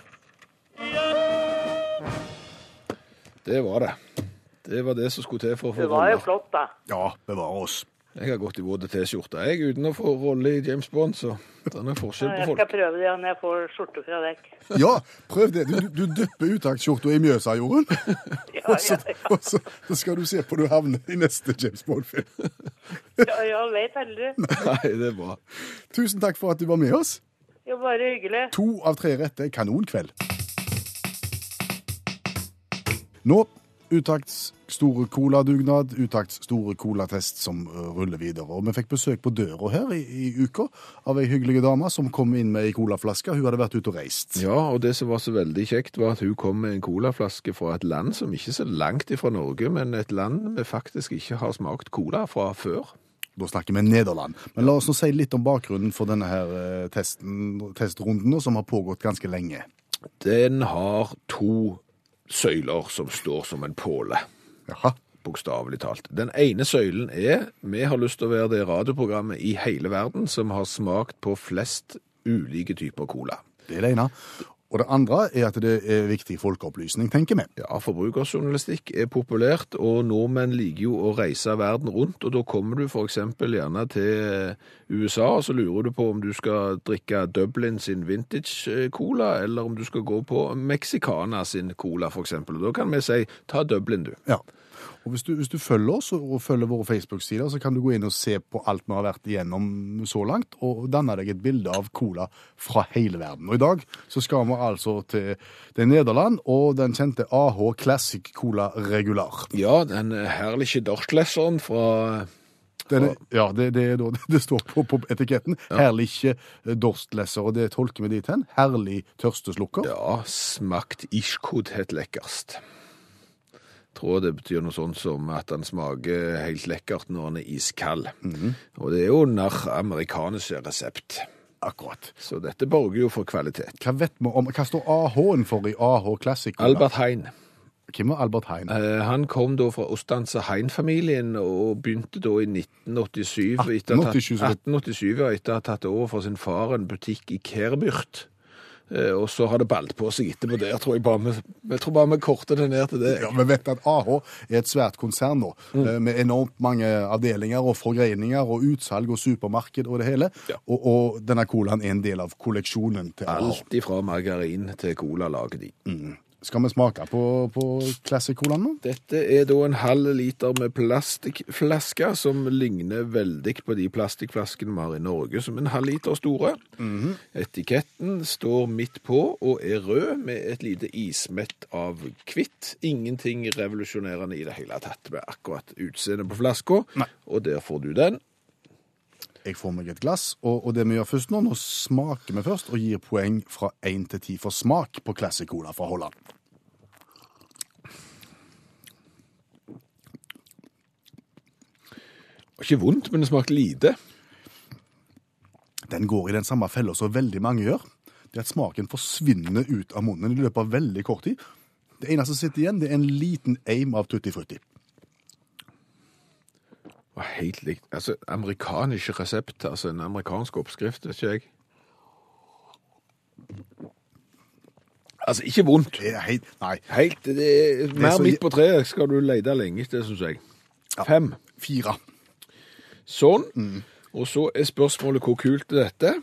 S3: Det var det. Det var det som skulle til for å
S6: Det
S3: få
S6: var jo
S3: rolle.
S6: flott, da.
S1: Ja, bevare oss.
S3: Jeg har gått i våte T-skjorte, jeg, uten å få rolle i James Bond, så det er noe forskjell
S6: Jeg
S3: på
S6: skal
S3: folk.
S6: prøve det når jeg får skjorte fra dekk.
S1: Ja, prøv det. Du, du dupper uttaksskjorta i Mjøsa, Jorunn.
S6: Ja,
S1: Og så,
S6: ja, ja,
S1: og så, så skal du se på du havner i neste James Bond-film.
S6: ja, jeg vet aldri.
S3: Nei, det er bra.
S1: Tusen takk for at du var med oss.
S6: Jo, bare hyggelig.
S1: To av tre rette kanonkveld. Nå Utakts store coladugnad, Utakts store colatest som eh, ruller videre. Og vi fikk besøk på døra her i, i uka av ei hyggelig dame som kom inn med ei colaflaske. Hun hadde vært ute og reist.
S3: Ja, og det som var så veldig kjekt var at hun kom med en colaflaske fra et land som ikke er så langt ifra Norge, men et land vi faktisk ikke har smakt cola fra før.
S1: Da snakker vi Nederland. Men la oss nå si litt om bakgrunnen for denne her eh, testen, testrunden, nå, som har pågått ganske lenge.
S3: Den har to søyler som står som en påle.
S1: Jaha.
S3: bokstavelig talt. Den ene søylen er vi har lyst til å være det radioprogrammet i hele verden som har smakt på flest ulike typer cola.
S1: Det er det ene. Og det andre er at det er viktig folkeopplysning, tenker vi.
S3: Ja, forbrukerjournalistikk er populært, og nordmenn liker jo å reise verden rundt, og da kommer du for eksempel gjerne til USA, og så lurer du på om du skal drikke Dublin sin vintage eh, cola, eller om du skal gå på Mexicana sin cola, for eksempel. Og da kan vi si, ta Dublin du.
S1: Ja. Og hvis du, hvis du følger oss og følger våre Facebook-sider, så kan du gå inn og se på alt vi har vært igjennom så langt, og danne deg et bilde av cola fra hele verden. Og i dag så skal vi altså til, til Nederland og den kjente AH Classic Cola Regular.
S3: Ja, den herlige dorslesseren fra
S1: Den er, ja, det, det, er da, det står på, på etiketten. Herlig ikke eh, dorstlesser, og det tolker vi dit hen. Herlig tørsteslukker.
S3: Ja, smakt iskod helt lekkerst. Tror det betyr noe sånt som at den smaker helt lekkert når den er iskald. Og det er jo nær amerikansk resept.
S1: Akkurat.
S3: Så dette borger jo for kvalitet.
S1: Hva vet vi om, hva står AH-en for i AH Classic Cola?
S3: Albert Hein.
S1: Hvem er Albert Hein?
S3: Eh, Han kom da fra Ostanse Hein-familien og begynte da i 1987 etter at-
S1: 1887, så det-
S3: 1887 ja, etter å ha tatt over fra sin far en butikk i Kærbyrt. Eh, Og så har det ballet på seg etterpå der, tror jeg bare vi- jeg tror bare vi korter det ned til det.
S1: Ja, Vi vet at AH er et svært konsern nå, eh, med enormt mange avdelinger og forgreininger og utsalg og supermarked og det hele.
S3: Ja.
S1: Og, og denne colaen er en del av kolleksjonen til AH.
S3: Alt ifra margarin til cola lager de.
S1: Skal vi smake på, på Classic-colaen nå?
S3: Dette er da en halv liter med plastikkflasker som ligner veldig på de plastikkflaskene vi har i Norge, som en halv liter store. Etiketten står midt på og er rød med et lite ismett av kvitt. Ingenting revolusjonerende i det hele tatt med akkurat utseendet på flaska, og der får du den.
S1: Jeg får meg et glass, og, og det vi gjør først nå, nå smaker vi først og gir poeng fra 1 til 10 for smak på Classic-cola fra Holland.
S3: Ikke vondt, men det smakte lite.
S1: Den går i den samme fella som veldig mange gjør. Det er at smaken forsvinner ut av munnen i løpet av veldig kort tid. Det eneste som sitter igjen, det er en liten eim av Tutti Frutti.
S3: var helt likt. Altså, amerikansk resept, altså en amerikansk oppskrift, vet ikke jeg. Altså, ikke vondt.
S1: Det er helt, nei,
S3: Helt, det er mer
S1: så-
S3: midt på treet skal du lete lenge etter, synes jeg. Fem.
S1: fire.
S3: Sånn.
S1: Mm.
S3: Og så er spørsmålet hvor kult er dette?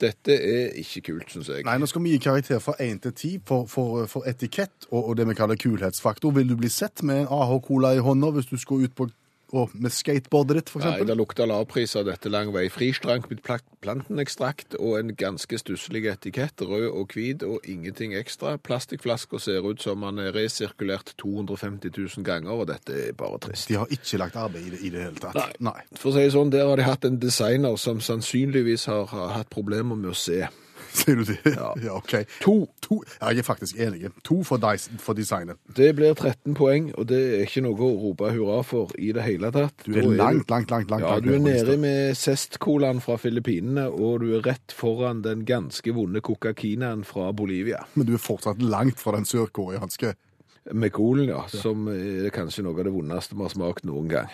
S3: Dette er ikke kult, synes jeg.
S1: Nei, nå skal vi gi karakter fra 1 til 10 for, for, for etikett og, og det vi kaller kulhetsfaktor. Vil du bli sett med en AH-cola i hånda hvis du skal ut på, og, med skateboardet ditt, for
S3: Nei,
S1: eksempel?
S3: det lukter lavpris av dette lang vei. Fristrank med plak- plantenekstrakt og en ganske stusslig etikett, rød og hvit og ingenting ekstra. Plastikkflasker ser ut som han er resirkulert 250 000 ganger, og dette er bare trist.
S1: De har ikke lagt arbeid i det i det hele tatt.
S3: Nei. For å si det sånn, der har de hatt en designer som sannsynligvis har, har hatt problemer med å se.
S1: Sier du det? Ja,
S3: Ja.
S1: ok.
S3: To.
S1: To. Ja, jeg er faktisk enig. To for, dis- for designet.
S3: Det blir 13 poeng, og det er ikke noe å rope hurra for i det hele tatt.
S1: Du
S3: Da
S1: er langt, langt, langt, langt.
S3: Ja,
S1: langt
S3: du er
S1: ned på lista.
S3: nede med Zest-colaen fra Filippinene, og du er rett foran den ganske vonde Coca-Kinaen fra Bolivia.
S1: Men du er fortsatt langt fra den sørkoreanske.
S3: Med colen, ja, som eh, er kanskje noe av det vondeste vi har smakt noen gang.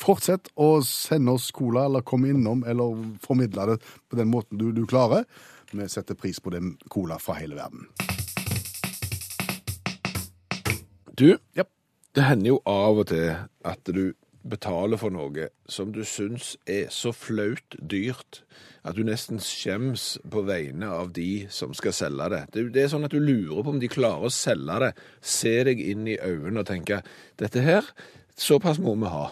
S1: Fortsett å sende oss cola, eller komme innom, eller formidle det på den måten du, du klarer. Vi setter pris på den cola fra hele verden.
S3: Du,
S1: Japp.
S3: det hender jo av og til at du betaler for noe som du syns er så flaut dyrt at du nesten skjems på vegne av de som skal selge det. Det, det er sånn at du lurer på om de klarer å selge det. Se deg inn i øynene og tenke dette her, såpass må vi ha.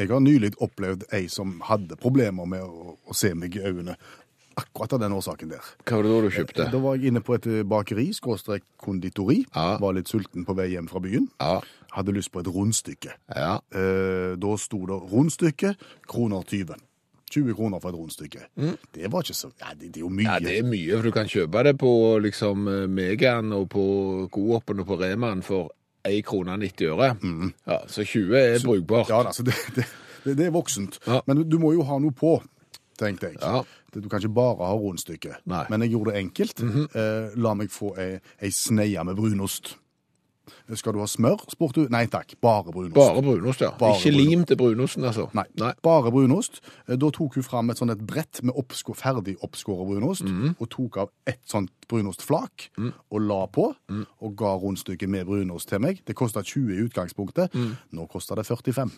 S1: Jeg har nylig opplevd ei som hadde problemer med å, å se meg i øynene. Akkurat av den årsaken der.
S3: Hva var det da du kjøpte?
S1: Da var jeg inne på et eh, bakeri, skråstrek konditori.
S3: Ja.
S1: Var litt sulten på vei hjem fra byen.
S3: Ja,
S1: Hadde lyst på et rundstykke.
S3: ja.
S1: Eh, da sto det rundstykke, kroner 20. 20 kroner for et rundstykke. Det var ikke så ja, det, det er jo mye.
S3: Mm. Ja, det er mye, for du kan kjøpe det på liksom Megan og på Coopen og på Reman for 1 krone 90 øre. Ja, så 20 er brukbart.
S1: Ja, altså, da, Mm. så det, det, det, det er voksent.
S3: Ja.
S1: Men du, du må jo ha noe på, tenkte jeg.
S3: Ja.
S1: Det- Du kan ikke bare ha rundstykke.
S3: Nei. Mhm.
S1: Men jeg gjorde det enkelt. eh, la meg få ei, ei sneie med brunost. Skal du ha smør, spurte du. Nei takk, bare brunost.
S3: Bare brunost, ja.
S1: Bare
S3: ikke
S1: brunost.
S3: lim til brunosten, altså.
S1: Nei, bare brunost. Eh, Da tok hun fram et sånn et brett med oppsko, ferdig oppskåret brunost,
S3: Mhm.
S1: og tok av et sånt brunostflak
S3: Mm.
S1: og la på, og ga rundstykket med brunost til meg. Det kosta 20 i utgangspunktet.
S3: Mm.
S1: Nå koster det 45.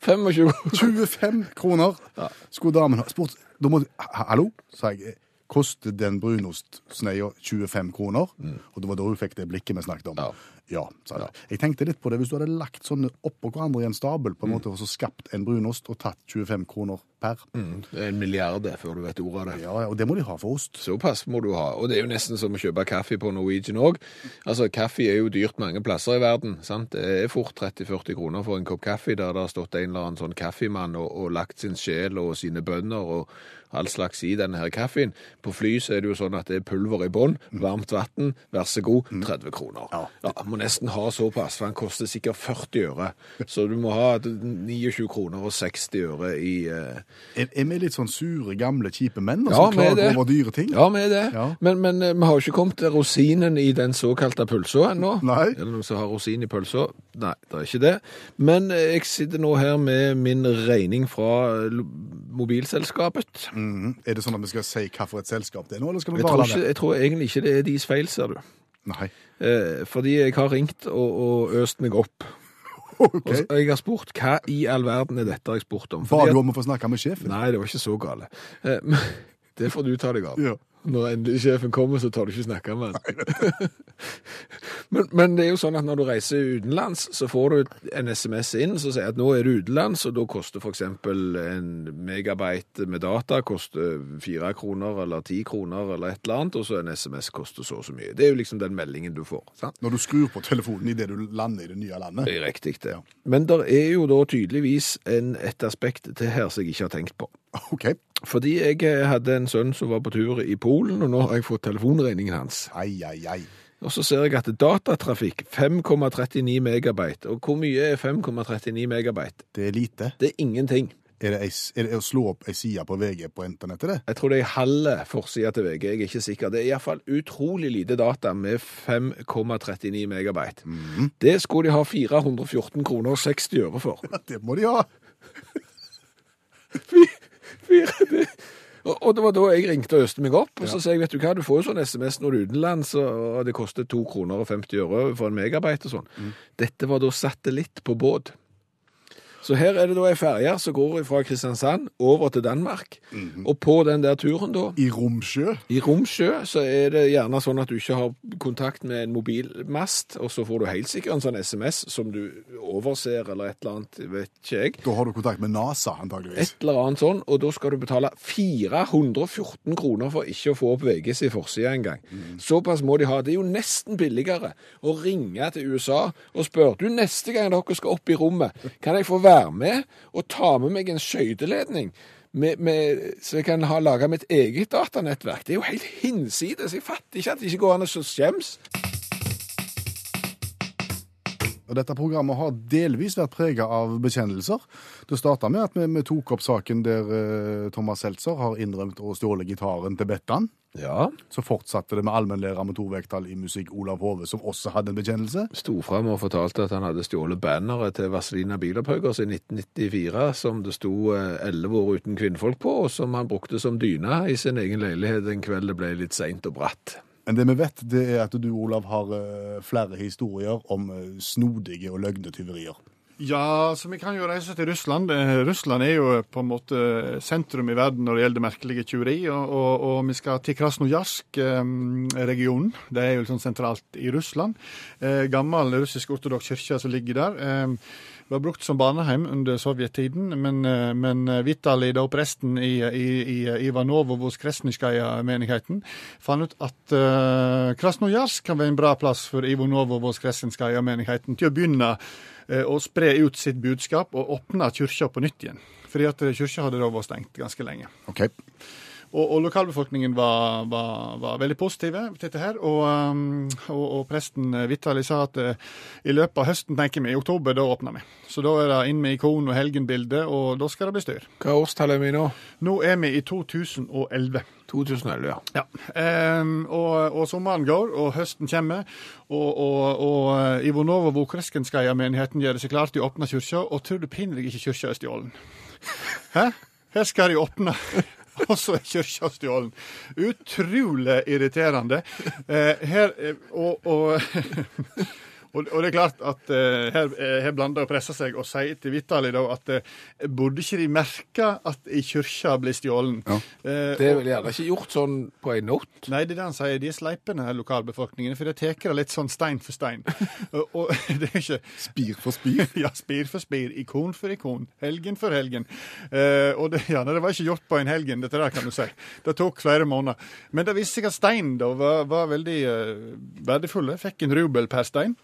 S3: 25
S1: 25 kroner skulle damen ha spurt. Da må, ha- hallo, sa jeg. eh, Koster den brunostsneia 25 kroner? Og det var da hun fikk det blikket vi snakket om.
S3: Mm. Ja.
S1: Ja, sa jeg. Jeg tenkte litt på det. Hvis du hadde lagt sånne oppå hverandre i en stabel, på en
S3: Mm.
S1: måte, og så skapt en brunost og tatt 25 kroner per
S3: Mm. En milliard det, før du vet ordet av det.
S1: Ja, ja, og det må de ha for ost.
S3: Såpass må du ha. Og det er jo nesten som å kjøpe kaffe på Norwegian òg. Altså, kaffe er jo dyrt mange plasser i verden. sant? Det er fort 30-40 kroner for en kopp kaffe der det har stått en eller annen sånn kaffemann og, og lagt sin sjel og sine bønner og all slags i denne her kaffen. På fly så er det jo sånn at det er pulver i bånn, varmt vann, vær så god, 30 kroner.
S1: Ja.
S3: Må nesten ha såpass, for den koster sikkert 40 øre. Så du må ha 29 kroner og 60 øre i eh,
S1: Er, er vi litt sånn sure, gamle, kjipe menn da,
S3: Ja,
S1: som
S3: vi er
S1: klager
S3: det.
S1: over dyre ting?
S3: Ja, vi er det.
S1: Ja.
S3: Men, men eh, vi har jo ikke kommet til rosinen i den såkalte pølsa ennå.
S1: Nei.
S3: Er det noen som har rosin i pølsa? Nei, det er ikke det. Men eh, jeg sitter nå her med min regning fra eh, lo- mobilselskapet.
S1: Mhm. Er det sånn at vi skal si hva for et selskap det er nå, eller skal vi
S3: Jeg
S1: bare
S3: tror,
S1: la
S3: ikke,
S1: det?
S3: jeg tror egentlig ikke det er deres feil, ser du.
S1: Nei.
S3: Eh, fordi jeg har ringt og, og øst meg opp. Og
S1: Ok.
S3: så- jeg har spurt hva i all verden er dette jeg har spurt om.
S1: Ba
S3: Fordi
S1: du
S3: at-
S1: om å få snakke med sjefen?
S3: Nei, det var ikke så gale. Eh, men Det får du ta deg av.
S1: Ja.
S3: Når endelig sjefen kommer, så tar du ikke snakke med han. men, men det er jo sånn at når du reiser utenlands, så får du en SMS inn som sier at nå er du utenlands, og da koster f.eks. en megabyte med data koster fire kroner eller ti kroner eller et eller annet, og så en SMS koster så og så mye. Det er jo liksom den meldingen du får. sant?
S1: Når du skrur på telefonen idet du lander i det nye landet?
S3: Det er riktig, det. Men det er jo da tydeligvis en, et aspekt til her som jeg ikke har tenkt på.
S1: OK.
S3: Fordi jeg eh, hadde en sønn som var på tur i Polen, og nå har jeg fått telefonregningen hans.
S1: Ai, ai, ai.
S3: Og så ser jeg at datatrafikk 5,39 megabyte. Og hvor mye er 5,39 megabyte?
S1: Det er lite.
S3: Det er ingenting.
S1: Er det, ei, s- er det å slå opp ei side på VG på internettet, det?
S3: Jeg tror det er halve forsida til VG, jeg er ikke sikker. Det er iallfall utrolig lite data med 5,39 megabyte. Det skulle de ha 414 kroner og 60 øre for.
S1: Det må de ha!
S3: Fire, det. Og, og det var da jeg ringte og øste meg opp, og så sa jeg, vet du hva, du får jo sånn sms når du er utenlands, og det koster 2 kroner og 50 øre for en megabyte og sånn. Dette var da satellitt på båd. Så her er det da en ferje som går fra Kristiansand over til Danmark, og på den der turen da,
S1: I Romsjø?
S3: i Romsjø, så er det gjerne sånn at du ikke har kontakt med en mobilmast, og så får du helt sikkert en sånn sms som du overser eller et eller annet, vet ikke jeg.
S1: Da har du kontakt med NASA, antageligvis.
S3: Et eller annet sånn, og da skal du betale 414 kroner for ikke å få opp VG sin forside engang. Såpass må de ha. Det er jo nesten billigere å ringe til USA og spørre du, neste gang dere skal opp i rommet, kan jeg få være med og ta med meg en skøyteledning? Med, med, så jeg kan ha laga mitt eget datanettverk. Det er jo helt hinsides. Jeg fatter ikke at det ikke går an å så skjems.
S1: Og dette programmet har delvis vært prega av bekjennelser. Det starta med at vi, vi tok opp saken der eh, Thomas Seltzer har innrømt å stjåle gitaren til Bettan.
S3: Ja.
S1: Så fortsatte det med allmennlærer med to vekttall i musikk Olav Hove, som også hadde en bekjennelse.
S3: sto fram og fortalte at han hadde stjålet banneret til Vazelina Bilopphøggers i 1994, som det sto eh, elleve år uten kvinnfolk på, og som han brukte som dyne i sin egen leilighet en kveld det ble litt seint og bratt.
S1: Men det vi vet, det er at du, Olav, har eh, flere historier om eh, snodige og løgnetyverier.
S5: Ja, så vi kan jo reise til Russland. Eh, Russland er jo på en måte sentrum i verden når det gjelder merkelige tyveri, og, og, og vi skal til Krasnojarsk-regionen. Det er jo litt sånn sentralt i Russland. Eh, gammel russisk ortodoks kirke som ligger der. Eh, var brukt som barneheim under sovjettiden, men, eh, men Vitali, da presten i, i, i Ivanovovos Kresniskaja-menigheten, fant ut at eh, Krasnojarsk kan være en bra plass for Ivanovovos Kresniskaja-menigheten til å begynne eh, og spre ut sitt budskap og åpne kirka på nytt igjen. Fordi at eh, kirka hadde da vært stengt ganske lenge.
S1: Ok.
S5: Og, og lokalbefolkningen var, var, var veldig positive til dette her. Og, um, og, og presten eh, Vitali sa at eh, i løpet av høsten, tenker vi, i oktober, da åpner vi. Så da er det inn med ikon og helgenbilde, og da skal det bli styr.
S3: Hva årstall er vi nå?
S5: Nå er vi i 2011.
S3: 2011, ja.
S5: Ja. Ehm, og, og sommeren går, og høsten kommer. Og, og, eh, og Ivonova Vokreskenskaja-menigheten gjør det seg klar til å åpne kirka, og tror du pinlig ikke kirka er stjålen. Hæ? Her skal de åpne. Og så er kirka stjålen. Utrolig irriterende. Eh, her, eh, og, og Og, og det er klart at eh, her, eh, her blander og presser seg og sier til Vitali da at eh, burde ikke de merke at i kirka blir stjålen? Eh,
S3: Det er
S5: og-
S3: vel gjerne ikke gjort sånn på en natt.
S5: Nei, det er det han sier. De er sleipende, her lokalbefolkningen. For de tar det litt sånn stein for stein. og, og det er ikke
S1: Spir for spir.
S5: ja, spir for spir, ikon for ikon, helgen for helgen. Eh, og det, ja, nei, det var ikke gjort på en helgen, dette der, kan du si. Det tok flere måneder. Men det viste seg at stein da var, var veldig eh, verdifulle. Fikk en rubel per stein.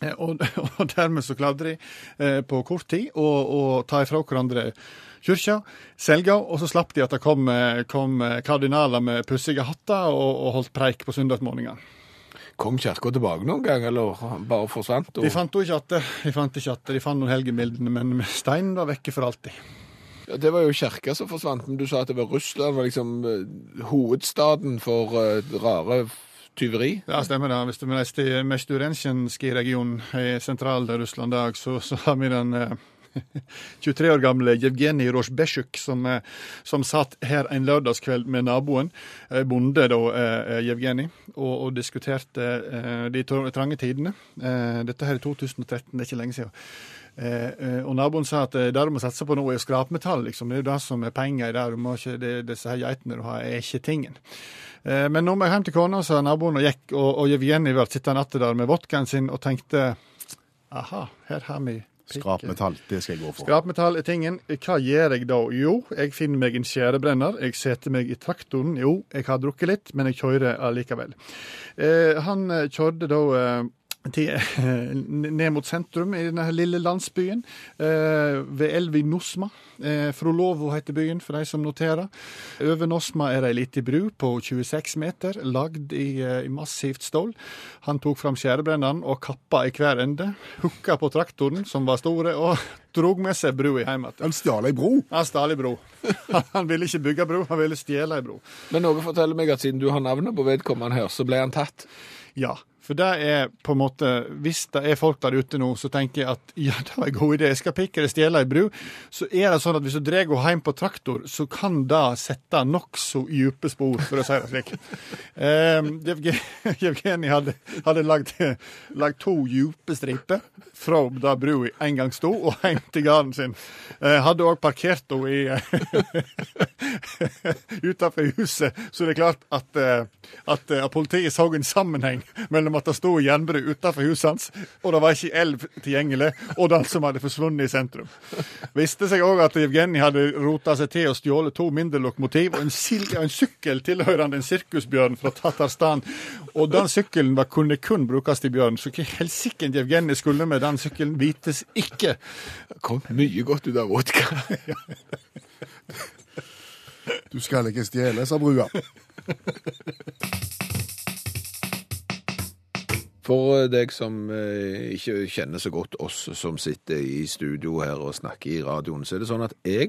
S5: Eh, Og, og dermed så klarte de eh, på kort tid å, å ta ifra hverandre kirka, selge, og så slapp de at det kom, eh, kom eh, kardinaler med pussige hatter og, og holdt preik på søndagsmorgenen.
S3: Kom kirka tilbake noen gang, eller bare forsvant? Og...
S5: De fant jo ikke atter, de fant ikke atter, de fant noen helgenbildene, men steinen var vekke for alltid.
S3: Ja, Det var jo kirka som forsvant, men du sa at det var Russland var liksom eh, hovedstaden for eh, rare f- tyveri.
S5: Ja, stemmer det. Hvis du reiser til Mesturensjenskij-regionen i sentral-Russland i dag, så, så har vi den eh, 23 år gamle Jevgenij Rozjbesjuk som, eh, som satt her en lørdagskveld med naboen, eh, bonde da, eh, eh, Jevgenij, og, og diskuterte eh, de tr- trange tidene. Eh, Dette her i 2013, det er ikke lenge siden. Eh, eh, og naboen sa at eh, det du må satse på nå, er jo skrapmetall, liksom. Det er jo det som er penger i det. Du må ikke, det, disse her geitene du har, er ikke tingen. Eh, Men nå må jeg hjem til kona, sa naboen og gikk, og, og Jevgenij ble sittende atter der med vodkaen sin og tenkte aha, her har vi pikk-
S1: Skrapmetall, det skal jeg gå for.
S5: Skrapmetall er tingen. Hva gjør jeg da? Jo, jeg finner meg en skjærebrenner. Jeg setter meg i traktoren. Jo, jeg har drukket litt, men jeg kjører allikevel. Eh, han eh, kjørte da eh, til, eh, ned mot sentrum i denne her lille landsbyen, eh, ved elva Nosma. Eh, Frolovo heter byen, for de som noterer. Over Nosma er ei lita bru på 26 meter, lagd i, eh, i massivt stål. Han tok fram skjærebrenneren og kappa i hver ende. Hooka på traktoren, som var store, og drog med seg brua hjem igjen.
S1: Han stjal ei bro.
S5: Han stjal ei bro. Han ville ikke bygge bro, han ville stjele ei bro.
S3: Men noe forteller meg at siden du har navnet på vedkommende her, så ble han tatt.
S5: Ja. For det er på en måte Hvis det er folk der ute nå, så tenker jeg at ja, det var en god idé. Jeg skal pikke eller stjele ei bru. Så er det sånn at hvis du drar henne hjem på traktor, så kan det sette nokså dype spor, for å si det slik. Um, Jevgenij hadde, hadde lagd, lagd to dype striper fra der brua en gang sto, og hjem til gården sin. Eh, hadde òg parkert henne i utenfor huset, så det er klart at, eh, at, eh, politiet så en sammenheng mellom at det sto jernbru utenfor huset hans, og det var ikke elv tilgjengelig, og den som hadde forsvunnet i sentrum. Viste seg òg at Evgenij hadde rota seg til å stjåle to mindre lokomotiv og en, sil og en sykkel tilhørende en sirkusbjørn fra Tatarstan. Og den sykkelen var, kunne kun brukes til bjørn, så hva i helsike Evgenij skulle med den sykkelen, vites ikke.
S3: Det kom mye godt ut av vodka.
S1: Du skal ikke stjele, sa brua.
S3: For deg som eh, ikke kjenner så godt oss som sitter i studio her og snakker i radioen, så er det sånn at jeg,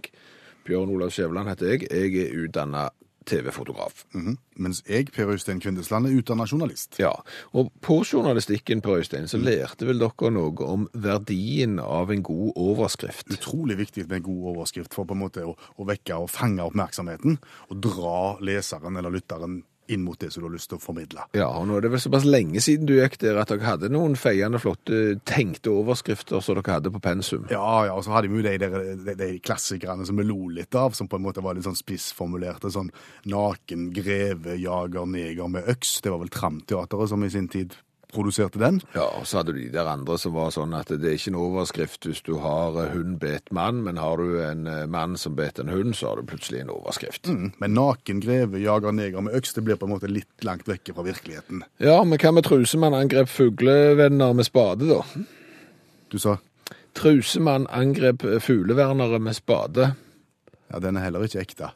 S3: Bjørn Olav Skjæveland heter jeg, jeg er utdanna TV-fotograf.
S1: Mhm. Mens jeg, Per Øystein Kvindesland, er utdanna journalist.
S3: Ja, Og på journalistikken, Per Øystein, så lærte vel dere noe om verdien av en god overskrift?
S1: Utrolig viktig med en god overskrift for på en måte å, å vekke og fange oppmerksomheten. Og dra leseren eller lytteren inn mot det som du har lyst til å formidle.
S3: Ja, og nå er det vel såpass lenge siden du gikk der at dere hadde noen feiende flotte tenkte overskrifter som dere hadde på pensum.
S1: Ja, ja, og så hadde vi jo de, der, de, de klassikerne som vi lo litt av, som på en måte var litt sånn spissformulerte. Sånn naken greve jager neger med øks. Det var vel Tramteatret som i sin tid produserte den.
S3: Ja, og så hadde du de der andre som var sånn at det er ikke en overskrift hvis du har eh, hund bet mann, men har du en eh, mann som bet en hund, så har du plutselig en overskrift.
S1: Men naken greve jager neger med øks, det blir på en måte litt langt vekke fra virkeligheten.
S3: Ja, men hva med trusemann angrep fuglevenner med spade, da?
S1: Du sa
S3: Trusemann angrep eh, fuglevernere med spade.
S1: ja, den er heller ikke ekte.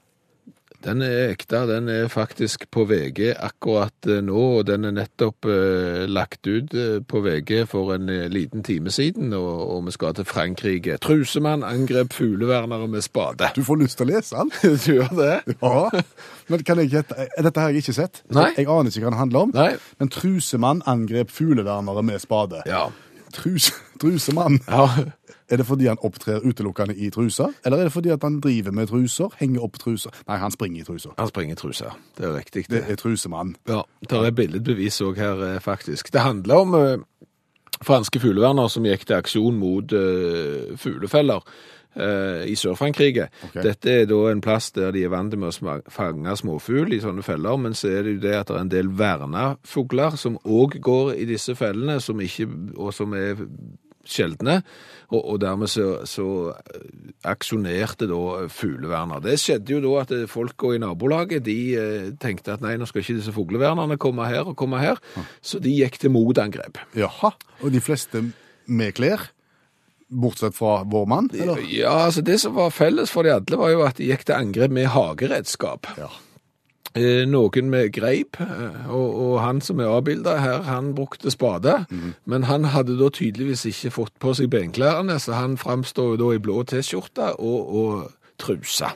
S3: Den er ekte. Den er faktisk på VG akkurat eh, nå, og den er nettopp eh, lagt ut eh, på VG for en eh, liten time siden, og, og vi skal til Frankrike. Trusemann angrep fuglevernere med spade.
S1: Du får lyst til å lese den.
S3: Du gjør det?
S1: Ja, men kan jeg gjette? eh, Dette har jeg ikke sett.
S3: Nei.
S1: Jeg aner ikke hva det handler om.
S3: Nei.
S1: Men trusemann angrep fuglevernere med spade.
S3: Ja.
S1: Trus, trusemann.
S3: ja.
S1: Er det fordi han opptrer utelukkende i truser? Eller er det fordi at han driver med truser? Henger opp truser? Nei, han springer i truser.
S3: Han springer i truser. Det er riktig.
S1: Det er trusemann.
S3: Ja, det er billedbevis òg her, eh, faktisk. Det handler om eh, franske fugleverner som gikk til aksjon mot eh, fuglefeller eh, i Sør-Frankrike.
S1: Ok.
S3: Dette er da en plass der de er vant med å sma- fange småfugl i sånne feller, men så er det jo det at det er en del verna fugler som òg går i disse fellene, som ikke, og som er sjeldne, og, og dermed så, så eh, aksjonerte da fugleverner. Det skjedde jo da at eh, folk i nabolaget de eh, tenkte at nei, nå skal ikke disse fuglevernerne komme her og komme her, så de gikk til motangrep.
S1: Jaha. Og de fleste med klær? Bortsett fra vår mann, eller?
S3: Ja, altså Det som var felles for de alle, var jo at de gikk til angrep med hageredskap.
S1: Ja.
S3: Eh, Noen med greip, eh, og, og han som er avbilda her, han brukte spade. Men han hadde da tydeligvis ikke fått på seg benklærne, så han framstår jo da i blå T-skjorte og, og truse.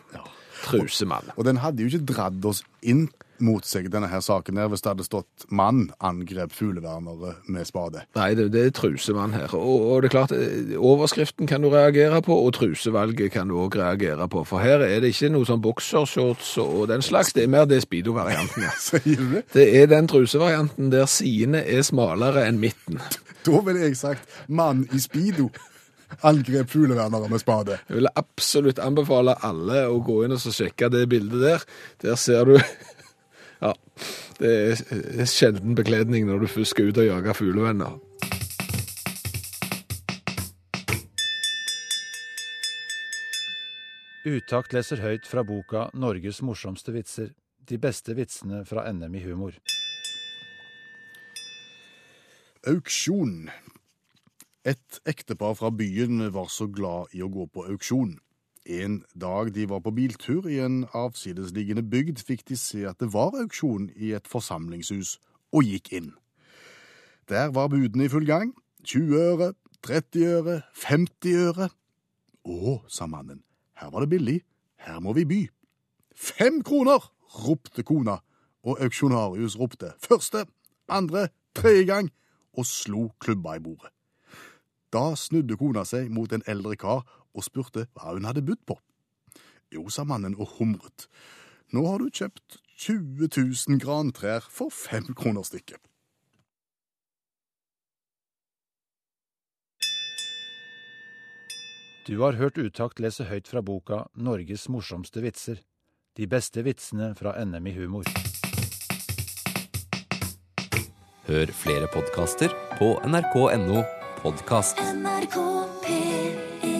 S3: Trusemann.
S1: Og den hadde jo ikke dratt oss inn mot seg, denne her saken her, hvis det hadde stått 'mann angrep fuglevernere med spade'.
S3: Nei, det, det er trusemann her. Og, og det er klart, eh, overskriften kan du reagere på, og trusevalget kan du òg reagere på. For her er det ikke noe sånn boksershorts og den slags, det er mer det speedo-varianten. ja.
S1: Sier du det?
S3: Det er den trusevarianten der sidene er smalere enn midten.
S1: Da ville jeg sagt 'mann i speedo angrep fuglevernere med spade'.
S3: Jeg vil absolutt anbefale alle å gå inn og så sjekke det bildet der. Der ser du Ja. Det er det er sjelden bekledning når du først skal ut og jage fuglevenner.
S7: Utakt leser høyt fra boka Norges morsomste vitser. De beste vitsene fra NM i humor.
S1: Auksjon. Et ektepar fra byen var så glad i å gå på auksjon. En dag de var på biltur i en avsidesliggende bygd, fikk de se at det var auksjon i et forsamlingshus, og gikk inn. Der var budene i full gang. 20 øre, 30 øre, 50 øre. Å, sa mannen, her var det billig, her må vi by. Fem kroner! ropte kona, og auksjonarius ropte første, andre, tredje gang og slo klubba i bordet. Da snudde kona seg mot en eldre kar og spurte hva hun hadde budt på. Jo, sa mannen og humret. Nå har du kjøpt 20 000 grantrær for fem kroner stykket.
S7: Du har hørt Utakt lese høyt fra boka Norges morsomste vitser. De beste vitsene fra NM i humor.
S8: Hør flere podkaster på nrk.no podkast.
S2: NRK P1